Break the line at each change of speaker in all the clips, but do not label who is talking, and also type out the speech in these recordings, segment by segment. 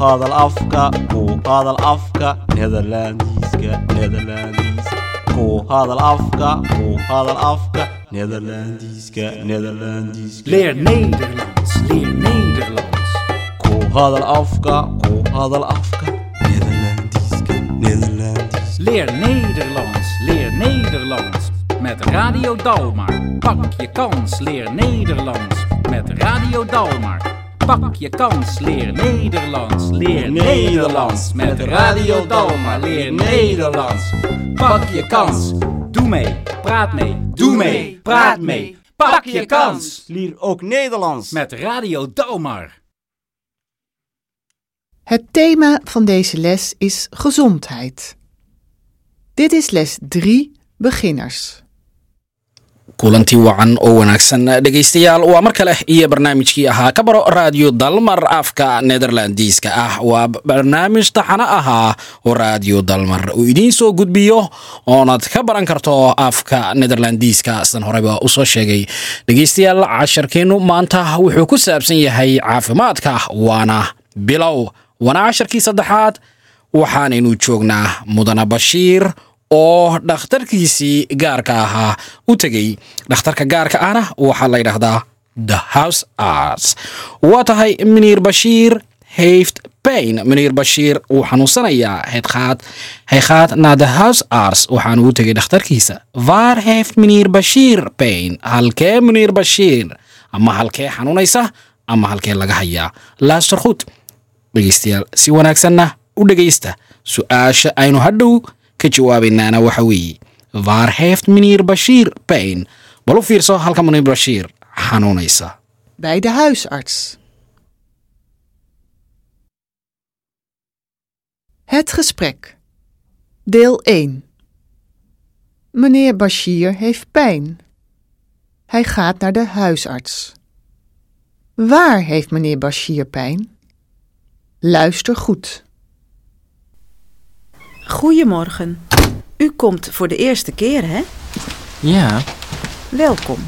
hadal afka ku hadal afka Nederlandiska Nederlandisch ku hadal afka ku hadal afka Nederlandiska Nederlandisch
Leer Nederlands, leer Nederlands.
ku hadal afka ku hadal afka Nederlandiska Nederlandisch
Leer Nederlands, leer Nederlands. Met Radio Dalmar. Pak je kans, leer Nederlands. Met Radio Dalmar. Pak je kans, leer Nederlands. Leer Nederlands. Met Radio Dalmar. Leer Nederlands. Pak je kans. Doe mee, praat mee. Doe mee, praat mee. Pak je kans.
Leer ook Nederlands
Met Radio Dalmar.
Het thema van deze les is gezondheid. Dit is les 3 beginners.
kulantii wacan oo wanaagsan dhegaystayaal waa mar kale iyo barnaamijkii ahaa ka baro raadiyo dalmar afka nederlandiiska ah waa barnaamij taxano ahaa oo raadiyo dalmar uu idiin soo gudbiyo oonaad ka baran karto afka nederlandiiska sidan horeba usoo sheegay dhegaystayaal casharkeennu maanta wuxuu ku saabsan yahay caafimaadka waana bilow waana casharkii saddexaad waxaanaynu joognaa mudane bashiir oo dhakhtarkiisii gaarka ahaa u tegey dhakhtarka gaarka ahna waxaa la yidhaahdaa the house arts waa tahay miniir bashiir hayft bain miniir bashiir uu xanuunsanayaa haydkhaad haykhaad na the house arts waxaanu u tegey dhakhtarkiisa var heft miniir bashiir bain halkee miniir bashiir ama halkee xanuunaysa ama halkee laga hayaa laasarkhut dhegaystayaal si wanaagsanna u dhegaysta su-aasha aynu hadhow ka jawaabaynaana waxa weeye vaarheeft minier bashiir bain bal u fiirso halka minier bashiir xanuunaysa
Bij de huisarts. Het gesprek. Deel 1. Meneer Bashir heeft pijn. Hij gaat naar de huisarts. Waar heeft meneer Bashir pijn? Luister goed.
Goedemorgen. U komt voor de eerste keer, hè?
Ja,
Welkom.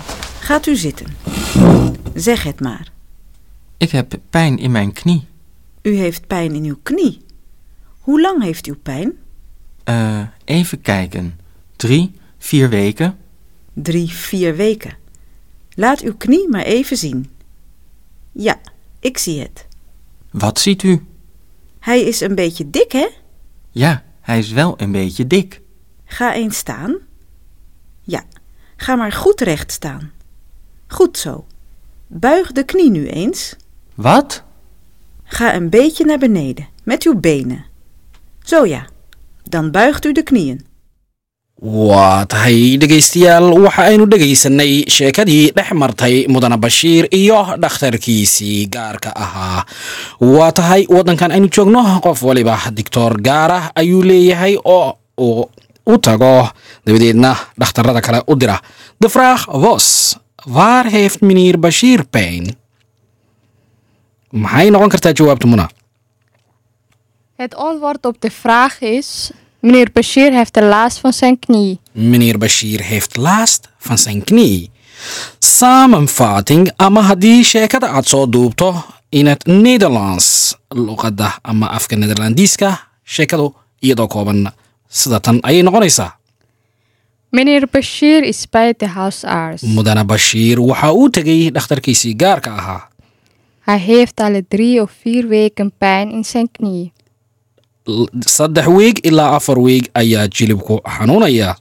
Gaat u zitten. Zeg het maar.
ik heb pijn in mijn knie.
U heeft pijn in uw knie. Hoe lang heeft u pijn?
Eh, even kijken. Drie, vier weken.
Drie, vier weken. Laat uw knie maar even zien. Ja, ik zie het.
Wat ziet u?
Hij is een beetje dik, hè?
Ja, hij is wel een beetje dik.
Ga eens staan. Ja, ga maar goed recht staan. Goed zo. Buig de knie nu eens.
Wat?
Ga een beetje naar beneden met uw benen. Zo ja, dan buigt u de knieën.
waa tahay dhegaystayaal waxa aynu dhegaysanay sheekadii dhex martay mudane bashiir iyo dhakhtarkiisii gaarka ahaa waa tahay waddankan aynu joogno qof waliba dictor gaar ah ayuu leeyahay oo uu u tago dabadeedna dhakhtarada kale u dira de vraag was waar heeft meneer bashiir pijn maxay noqon kartaa jawaabtu muna
Het antwoord op de vraag is: Meneer Bashir heeft de last van zijn knie.
meneer Bashir heeft last van zijn knie. Samenvatting ama haddii sheekada aad soo duubto in het Nederlands luqadda ama afka Nederlandiiska sheekadu iyadoo kooban sida tan ayay noqonaysaa
Meneer Bashir is bij de huisarts.
mudane Bashiir waxa uu tegey dhakhtarkiisii gaarka ahaa
Hij heeft alle drie of vier weken pijn in zijn knie.
L- saddex weeg ilaa afar weeg ayaa jilibku xanuunaya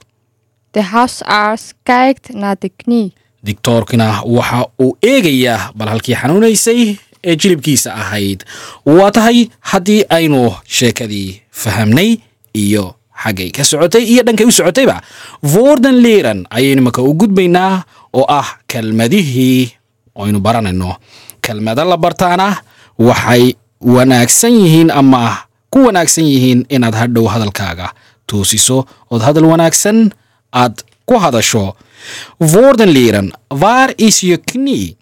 De huisarts kijkt naar de knie.
dictoorkina waxa uu eegayaa bal halkii xanuunaysay ee jilibkiisa ahayd waa tahay haddii aynu sheekadii fahamnay iyo xaggay ka socotay iyo dhankay u socotayba voorden leeran ayaynu maka u gudbaynaa oo ah kelmadihii aynu baranayno kelmada la bartaana waxay wanaagsan yihiin ama ku wanaagsan yihiin inaad hadhow hadalkaaga toosiso ood hadal wanaagsan aad ku hadasho woorden leren. Waar is je knie?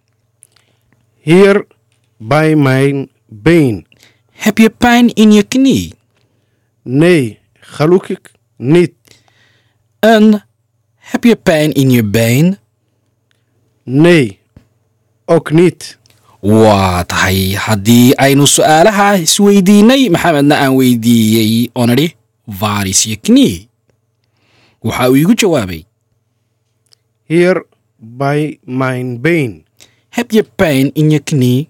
Hier bij mijn been.
Heb je pijn in je knie?
Nee, gelukkig niet.
En heb je pijn in je been?
Nee, ook niet.
waa tahay haddii aynu su'aalaha isweydiinay maxamedna aan weydiiyey oo nidhi varis iyo knie waxa uu iigu jawaabay
Hier bij mijn been.
heb je pain in your knie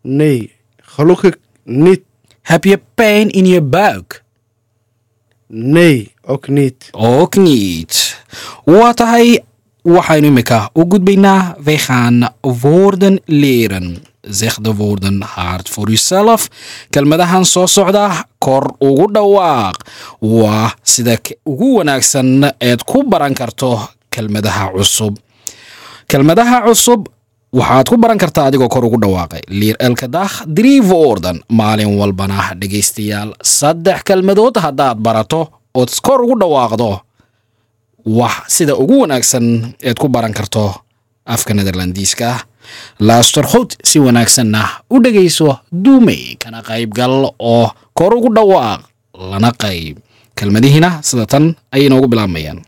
Nee, gelukkig niet.
heb je pain in your buik
Nee, ook niet.
ook niet waa tahay waxaynu imika u gudbaynaa wij gaan woorden leren zeg de woorden hard voor uzelf kelmadahan soo socda kor ugu dhawaaq waa sida k- ugu wanaagsan eed ku baran karto kelmadaha cusub kelmadaha cusub waxaad ku baran kartaa adigoo kor ugu dhawaaqay liir elkadah driivo ordan maalin walbana dhegaystayaal saddex kelmadood haddaad barato ood kor ugu dhawaaqdo wax sida ugu wanaagsan eed ku baran karto afka nederlandiiska laasterhood si wanaagsanna u dhegayso duumey kana qaybgal oo kor ugu dhawaaq lana qayb kelmadihiina sida tan ayay noogu bilaabmayaan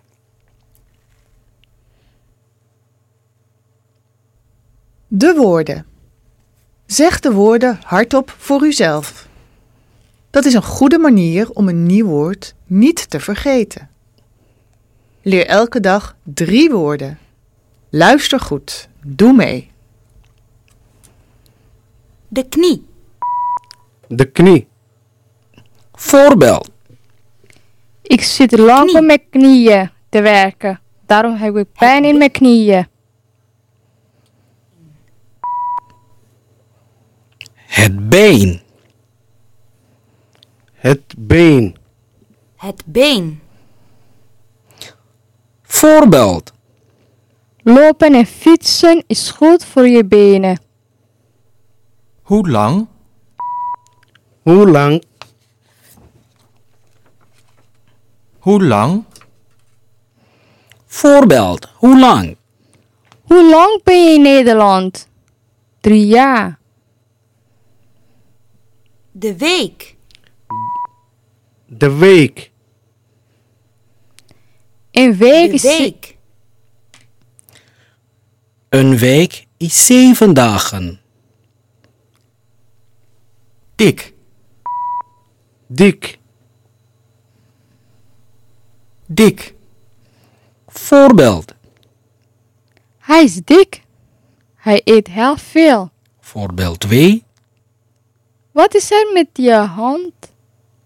De woorden. Zeg de woorden hardop voor uzelf. Dat is een goede manier om een nieuw woord niet te vergeten. Leer elke dag drie woorden. Luister goed. Doe mee.
De knie.
De knie.
voorbeeld
Ik zit lang
Knie.
op mijn knieën te werken. Daarom heb ik pijn in mijn knieën.
het been
Het been.
Het been.
Voorbeeld.
Lopen en fietsen is goed voor je benen.
Hoe lang?
Hoe lang?
Hoe lang?
Voorbeeld. Hoe lang?
Hoe lang ben je in Nederland? Drie jaar.
De week.
De week.
Een week
De
is
week.
Een week is zeven dagen.
Dik.
Dik.
Dik.
Voorbeeld.
Hij is dik. Hij eet heel veel.
Voorbeeld 2.
Wat is er met je hand?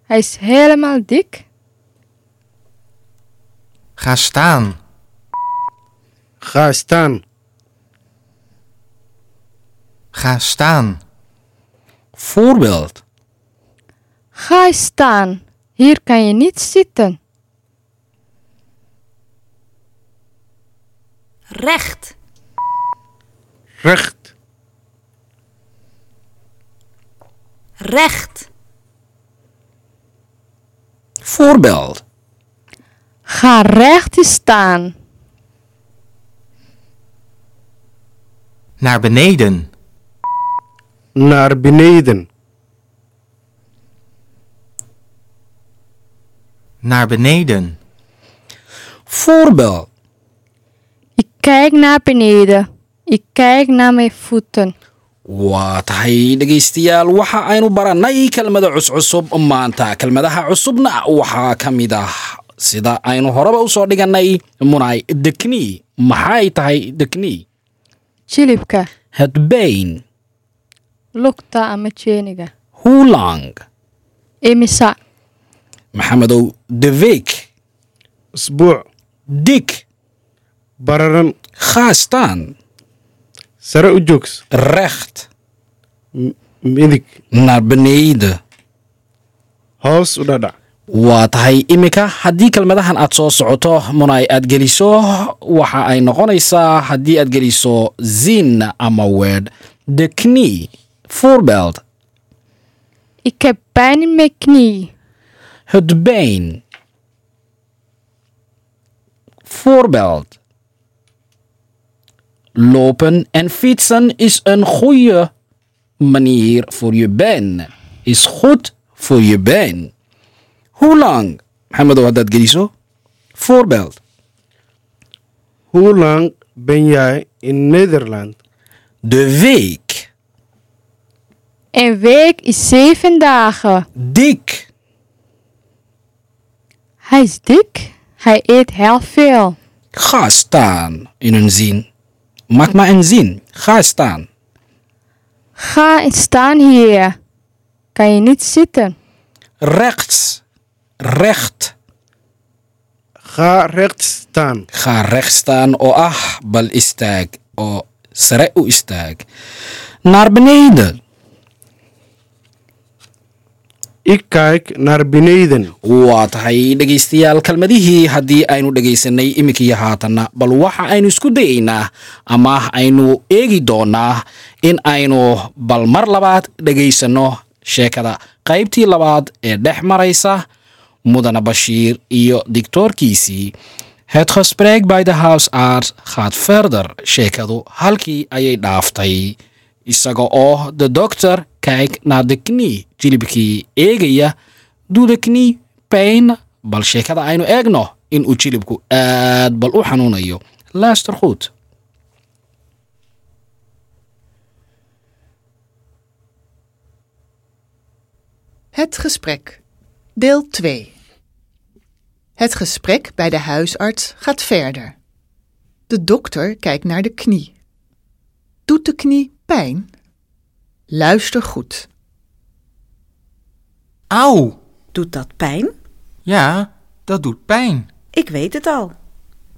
Hij is helemaal dik.
Ga staan.
Ga staan.
Ga staan.
Voorbeeld.
Ga staan. Hier kan je niet zitten.
Recht.
Recht.
Recht.
Voorbeeld.
Ga recht staan.
Naar beneden.
Naar beneden.
Naar beneden.
Voorbeeld.
Ik kijk naar beneden. Ik kijk naar mijn voeten.
waa tahay dhegaystayaal waxa aynu barannay kelmada cuscusub maanta kelmadaha cusubna waxaa ka mid ah sida aynu horeba usoo dhigannay munay dekni maxay tahay dekni
Chilipka.
het been
Lukta ama jeeniga.
hoe lang
Emisa.
maxamedow de week
Sboe.
dik
Bararan.
ga staan
Sara ujoks.
recht
Midik.
naar beneden
Hoos udada.
waa tahay iminka haddii kelmadahan aad soo socoto munay aad geliso waxa ay noqonaysaa haddii aad geliso zin ama wed the knie voorbeeld
Ik heb pijn in mijn knie.
het been voorbeeld lopen en fietsen is een goede manier voor je been is goed voor je been hoe lang Mohamed had dat geliso voorbeeld
Hoe lang ben jij in Nederland?
de week
Een week is zeven dagen.
Dik.
Hij is dik. Hij eet heel veel.
Ga staan in een zin. Maak maar een zin. Ga staan.
Ga en staan hier. Kan je niet zitten.
Rechts. Recht.
Ga recht staan.
Ga recht staan. O ah, bal istaag. O sre u istaag. Naar beneden.
Ik kijk naar beneden.
waa tahay dhegaystayaal kelmadihii haddii aynu dhegaysanay iminkii haatanna bal waxa aynu isku dayaynaa ama aynu eegi doonaa in aynu bal mar labaad dhegaysanno sheekada qaybtii labaad ee dhex maraysa mudane bashiir iyo digtoorkiisii het gesprek by the house art gaat verder sheekadu halkii ayay dhaaftay isaga oo de doctor kijk naar de knie jilibkii eegaya doe de knie pijn bal sheekada aynu eegno inuu jilibku aad bal u xanuunayo luister goed
Het gesprek. Deel 2. Het gesprek bij de huisarts gaat verder. De dokter kijkt naar de knie. Doet de knie pijn? Luister goed.
Auw!
Doet dat pijn?
Ja, dat doet pijn.
Ik weet het al.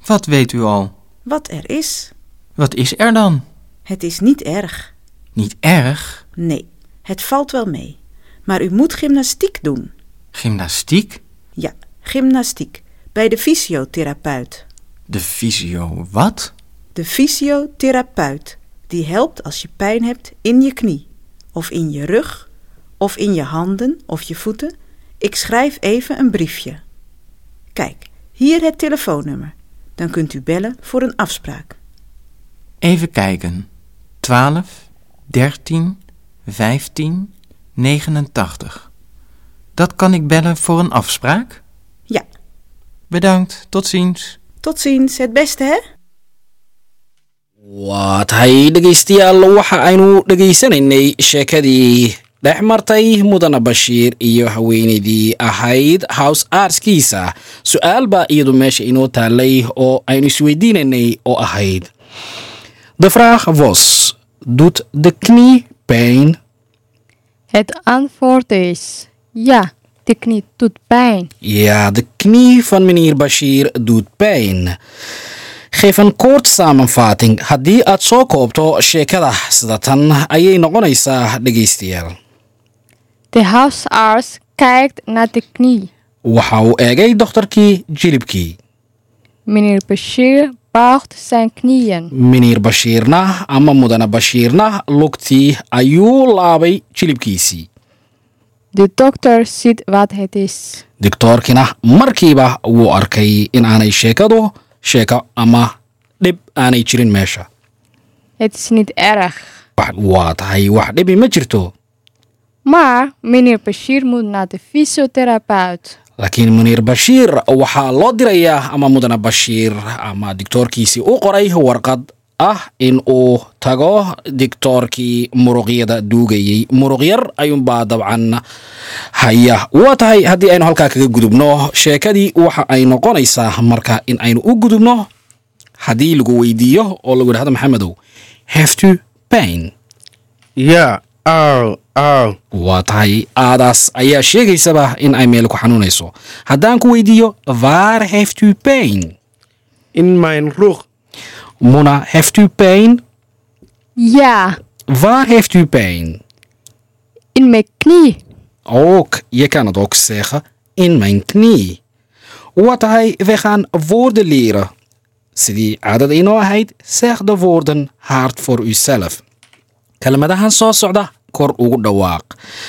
Wat weet u al?
Wat er is.
Wat is er dan?
Het is niet erg.
Niet erg.
Nee, het valt wel mee. Maar u moet gymnastiek doen.
Gymnastiek?
Ja, gymnastiek. Bij de fysiotherapeut.
De fysio wat?
De fysiotherapeut. Die helpt als je pijn hebt in je knie. Of in je rug. Of in je handen of je voeten. Ik schrijf even een briefje. Kijk, hier het telefoonnummer. Dan kunt u bellen voor een afspraak.
Even kijken. 12, 13, 15, 89. Dat kan ik bellen voor een afspraak?
Ja,
Bedankt, tot ziens.
tot ziens. Het beste, hè?
waa tahay dhegaystayaal waxa aynu dhegaysanaynay sheekadii dhex martay mudane bashiir iyo haweenaydii ahayd house artskiisa su-aal baa iyadu meesha inoo taalay oo aynu isweydiinaynay oo ahayd de vraag was doet de knie pijn
Het antwoord is ja. De knie doet pijn.
Ja, de knie van meneer Bashir doet pijn. Geef een kort samenvatting. Haddii aad soo koobto sheekada sida tan ayay noqonaysaa dhegaystayaal.
De huisarts kijkt naar de knie.
Waxa uu eegay dokhtarkii jilibkii.
Meneer Bashir buigt zijn knieën.
Meneer Bashiirna ama mudane Bashiirna lugtii ayuu laabay jilibkiisii.
De dokter ziet wat het is.
Digtoorkina markiiba wuu arkay in aanay sheekadu sheeko ama dhib aanay jirin meesha.
Het is niet erg.
Wax- Waa tahay wax dhibi ma jirto.
Maar meneer Bashir moet naar de fysiotherapeut.
laakiin muniir bashiir waxaa loo dirayaa ama mudane bashiir ama digtoorkiisii u qoray warqad ah in uu tago digtoorkii muruqyada duugayey muruq yar ayuunbaa dabcan haya waa tahay haddii aynu halkaa kaga gudubno sheekadii waxa ay noqonaysaa marka in aynu u gudubno haddii lagu weydiiyo oo lagu idhahdo maxamedow heftu pain
Ja, auw, auw.
waa tahay aadaas ayaa sheegaysaba in ay meel ku xanuunayso haddaan ku weydiiyo waar heeft u pain
In mijn rug.
muna heeft u pain
Ja,
waar heeft u pain
in mijn knie.
ook je kan het ook zeggen in mijn knie waa tahay we gaan woorden leren sidii caadada inoo ahayd seekh de woorden hard voor uzelf kelmadahan soo socda kor ugu dhawaaq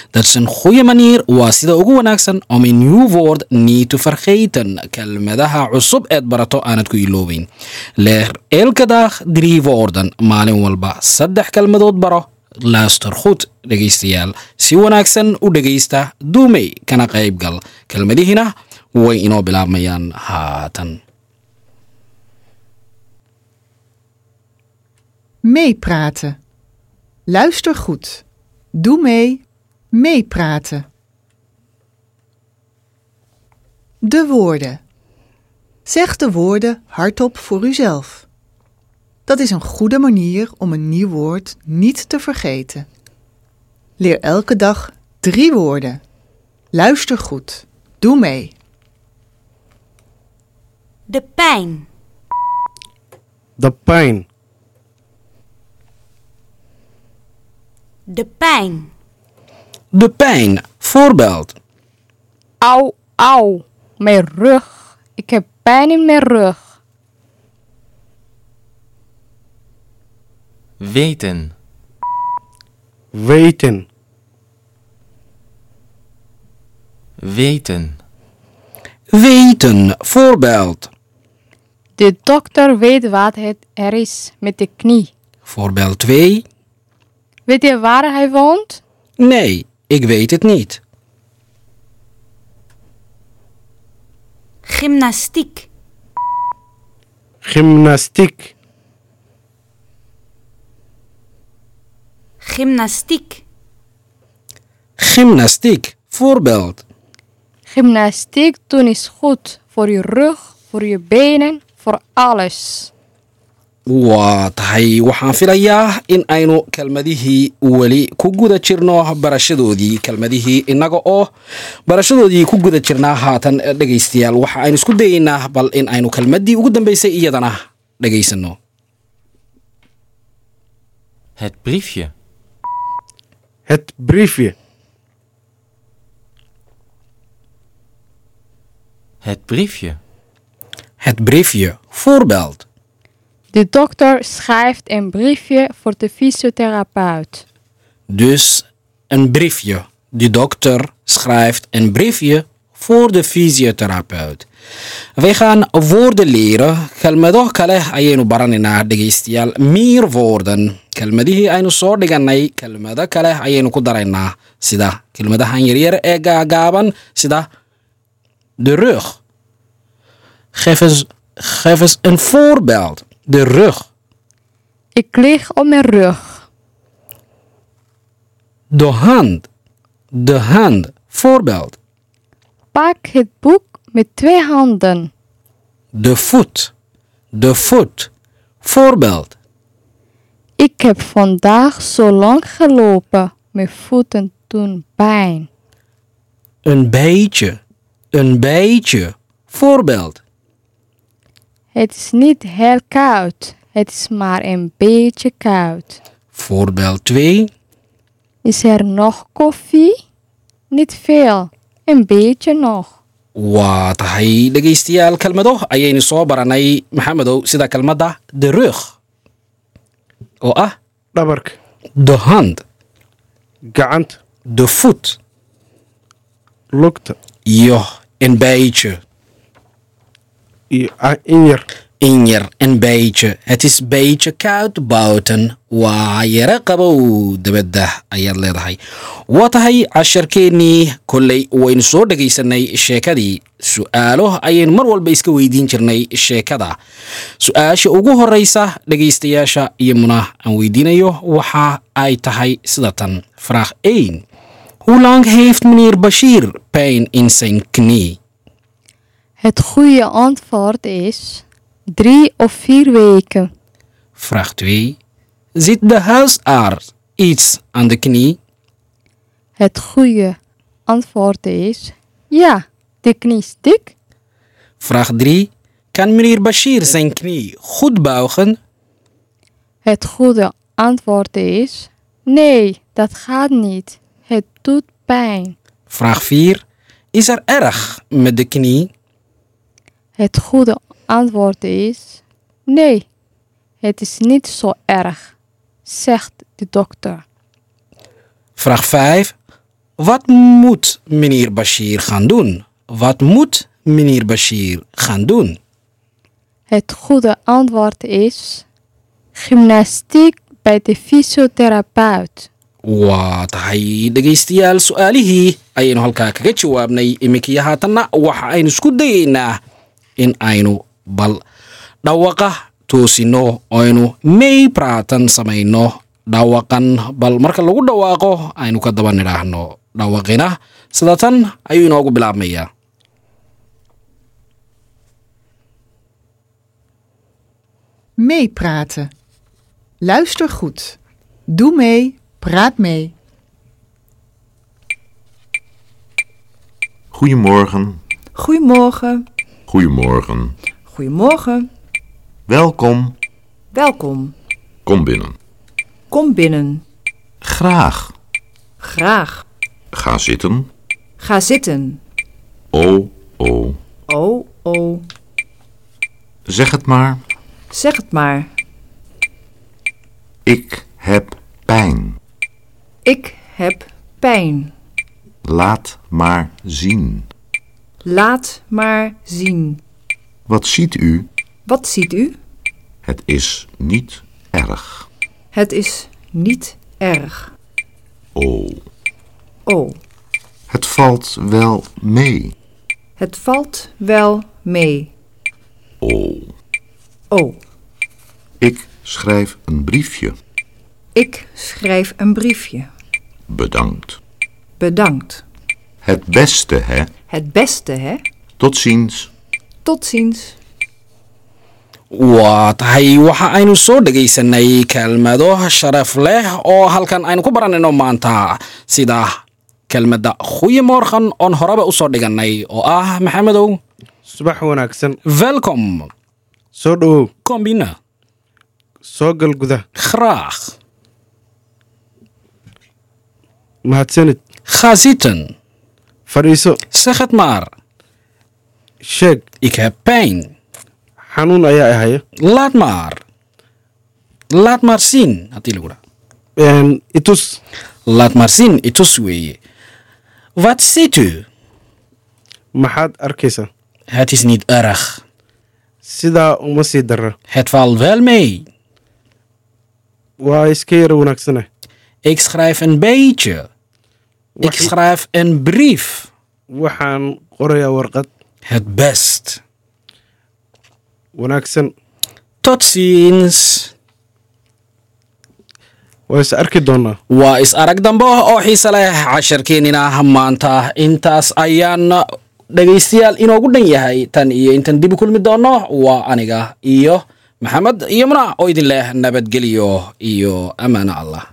dat is een goede manier waa sida ugu wanaagsan om een nieuw woord niet te vergeten kelmadaha cusub eed barato aanad ku iloobeyn leer elke dag drie woorden maalin walba saddex kelmadood baro luister goed dhegaystayaal si wanaagsan u dhegaysta duumey kana qaybgal kelmadihina way inoo bilaabmayaan haatan
Meepraten. Luister goed. Doe mee, meepraten. De woorden. Zeg de woorden hardop voor uzelf. Dat is een goede manier om een nieuw woord niet te vergeten. Leer elke dag drie woorden. Luister goed. Doe mee.
De pijn.
The pain.
De pijn.
De pijn. Voorbeeld.
Au, au. Mijn rug. Ik heb pijn in mijn rug.
Weten.
Weten.
Weten.
Weten. Voorbeeld.
De dokter weet wat het er is met de knie.
Voorbeeld 2.
Weet je waar hij woont?
Nee, ik weet het niet.
Gymnastiek.
Gymnastiek.
Gymnastiek.
Gymnastiek. Voorbeeld.
Gymnastiek doen is goed voor je rug, voor je benen, voor alles.
waa tahay waxaan filayaa in aynu kelmadihii weli ku guda jirno barashadoodii kelmadihii innaga oo barashadoodii ku guda jirnaa haatan eh, dhegaystayaal waxa aynu isku dayeynaa bal in aynu kelmaddii ugu dambaysay iyadana dhagaysano
Het briefje.
Het briefje.
Het briefje.
het briefje voorbeeld
De dokter schrijft een briefje voor de fysiotherapeut.
dus een briefje de dokter schrijft een briefje voor de fysiotherapeut wij gaan woorden leren kelmado kale ayaynu baranaynaa dhegaystayaal miir woorden kelmadihii aynu soo dhigannay kelmado kale ayaynu ku daraynaa sida kelmadahan yaryar ee gaagaaban sida de rug geef eens, geef eens een voorbeeld de rug
Ik lig op mijn rug.
de hand de hand voorbeeld
Pak het boek met twee handen.
De voet. De voet. Voorbeeld.
Ik heb vandaag zo lang gelopen. Mijn voeten doen pijn.
Een beetje. Een beetje. Voorbeeld.
Het is niet heel koud. Het is maar een beetje koud.
Voorbeeld 2.
Is er nog koffie? Niet veel. Een beetje nog.
waa tahay dhegaystayaal kelmado ayaynu soo baranay maxamedow sida kelmadda de rug oo ah
Dhabarka.
the hand
Gacanta.
the foot
Lugta.
iyo een beetje
Iyo ah, in yar.
in yar een beetje het is beetje koud buiten waa yara qabow dabadda ayaad leedahay waa tahay casharkeennii kolley waynu soo dhegaysanay sheekadii su-aalo ayaynu mar walba iska weydiin jirnay sheekada su-aasha ugu horeysa dhegaystayaasha iyo muna aan weydiinayo waxa ay tahay sida tan vraag 1 hoe lang heeft meneer bashiir pain in zijn knie
Het goede antwoord is drie of vier weken.
Vraag 2. Zit de huisarts iets aan de knie?
Het goede antwoord is ja, de knie is dik.
Vraag 3. Kan meneer Bashir zijn knie goed buigen?
Het goede antwoord is nee, dat gaat niet. Het doet pijn.
Vraag 4. Is er erg met de knie?
Het goede antwoord is nee, het is niet zo erg, zegt de dokter.
Vraag 5. Wat moet meneer Bashir gaan doen? Wat moet meneer Bashir gaan doen?
Het goede antwoord is gymnastiek bij de fysiotherapeut.
waa tahay dhegaystayaal su-aalihii ayaynu halkaa kaga jawaabnay imikaiyo haatanna waxa aynu isku dayeynaa in aynu bal dhawaqa toosino aynu may praatan samayno dhaawaqan bal marka lagu dhawaaqo aynu ka daba nidhaahno dhaawaqina sida tan ayuu inoogu bilaabmayaa
Meepraten. Luister goed. Doe mee, praat mee.
Goedemorgen.
Goedemorgen.
Goedemorgen.
Goedemorgen.
Welkom.
Welkom.
Kom binnen.
Kom binnen.
Graag.
Graag.
Ga zitten.
Ga zitten.
Oh, oh.
Oh, oh.
Zeg het maar.
Zeg het maar.
Ik heb pijn.
Ik heb pijn.
Laat maar zien.
Laat maar zien.
Wat ziet u?
Wat ziet u?
Het is niet erg.
Het is niet erg.
Oh.
Oh,
Het valt wel mee.
het valt wel mee.
Oh.
Oh,
Ik schrijf een briefje.
ik schrijf een briefje.
Bedankt.
Bedankt.
Het beste, hè?
Het beste, hè?
Tot ziens.
Tot ziens.
waa tahay waxa aynu soo dhegaysanay kelmado sharaf leh oo halkan aynu ku baranayno maanta sida kelmadda khuyimoorkhan oon horeba usoo dhiganay oo ah maxamedow
subax wanaagsan
velcom
soo dhowow
kombina
soo gal gudaha
khraakh
mahadsanid
khaziten
fadhiiso
zeg het maar
sheeg
ik heb pijn
xanuun ayaa ihaya
laat maar laat maar zien haddii lagu dhaha
Een, itus
laat maar zien itus weeye wat ziet u
maxaad arkaysaa
het is niet erg
sidaa uma sii darra
Het valt wel mee.
waa iska yara wanaagsanah
Ik schrijf een beetje. Ik
Waxa-
schrijf een brief.
waxaan qorayaa warqad
Het best.
wanaagsan
Tot ziens.
waa is arki doonaa
waa is arag dambe oo xiise leh casharkeenina maanta intaas ayaan dhegaystayaal inoogu dhan yahay tan iyo intan dib u kulmi doono waa aniga iyo maxamed iyo muna oo idin leh nabadgelyo iyo ammaano allah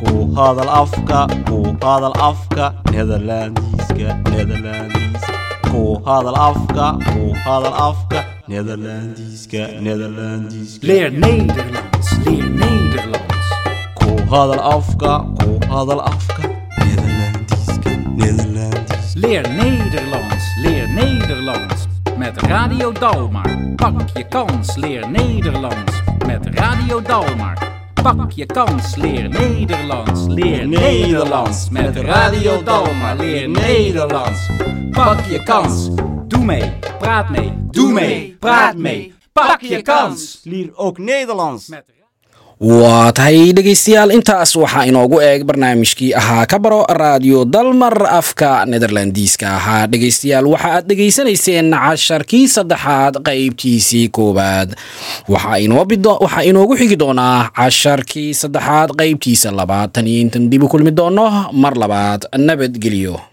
Ku hadal afka, ku hadal afka, Nederlandiska, Nederlandiska. Ku hadal afka, ku hadal afka, Nederlandiska, Nederlandiska.
Leer Nederlands, leer Nederlands.
Ku hadal afka, ku hadal afka, Nederlandiska, Nederlandiska.
Leer Nederlands, leer Nederlands. Met Radio Dalmar. Pak je kans, leer Nederlands. Met Radio Dalmar. Pak je kans, leer Nederlands. Leer Nederlands. Met Radio Dalmar, leer Nederlands. Pak je kans. Doe mee, praat mee. Doe mee, praat mee. Pak je kans.
Leer ook Nederlands.
Met
waa tahay dhegaystayaal intaas waxaa inoogu eeg barnaamijkii ahaa ka baro raadiyo dalmar afka nederlandiiska ahaa dhegaystayaal waxa aad dhegaysanayseen casharkii saddexaad qaybtiisii koowaad waxaa inoobi do- waxaa inoogu xigi doonaa casharkii saddexaad qaybtiisa labaad tan iyo intan dib u kulmi doono mar labaad nabadgelyo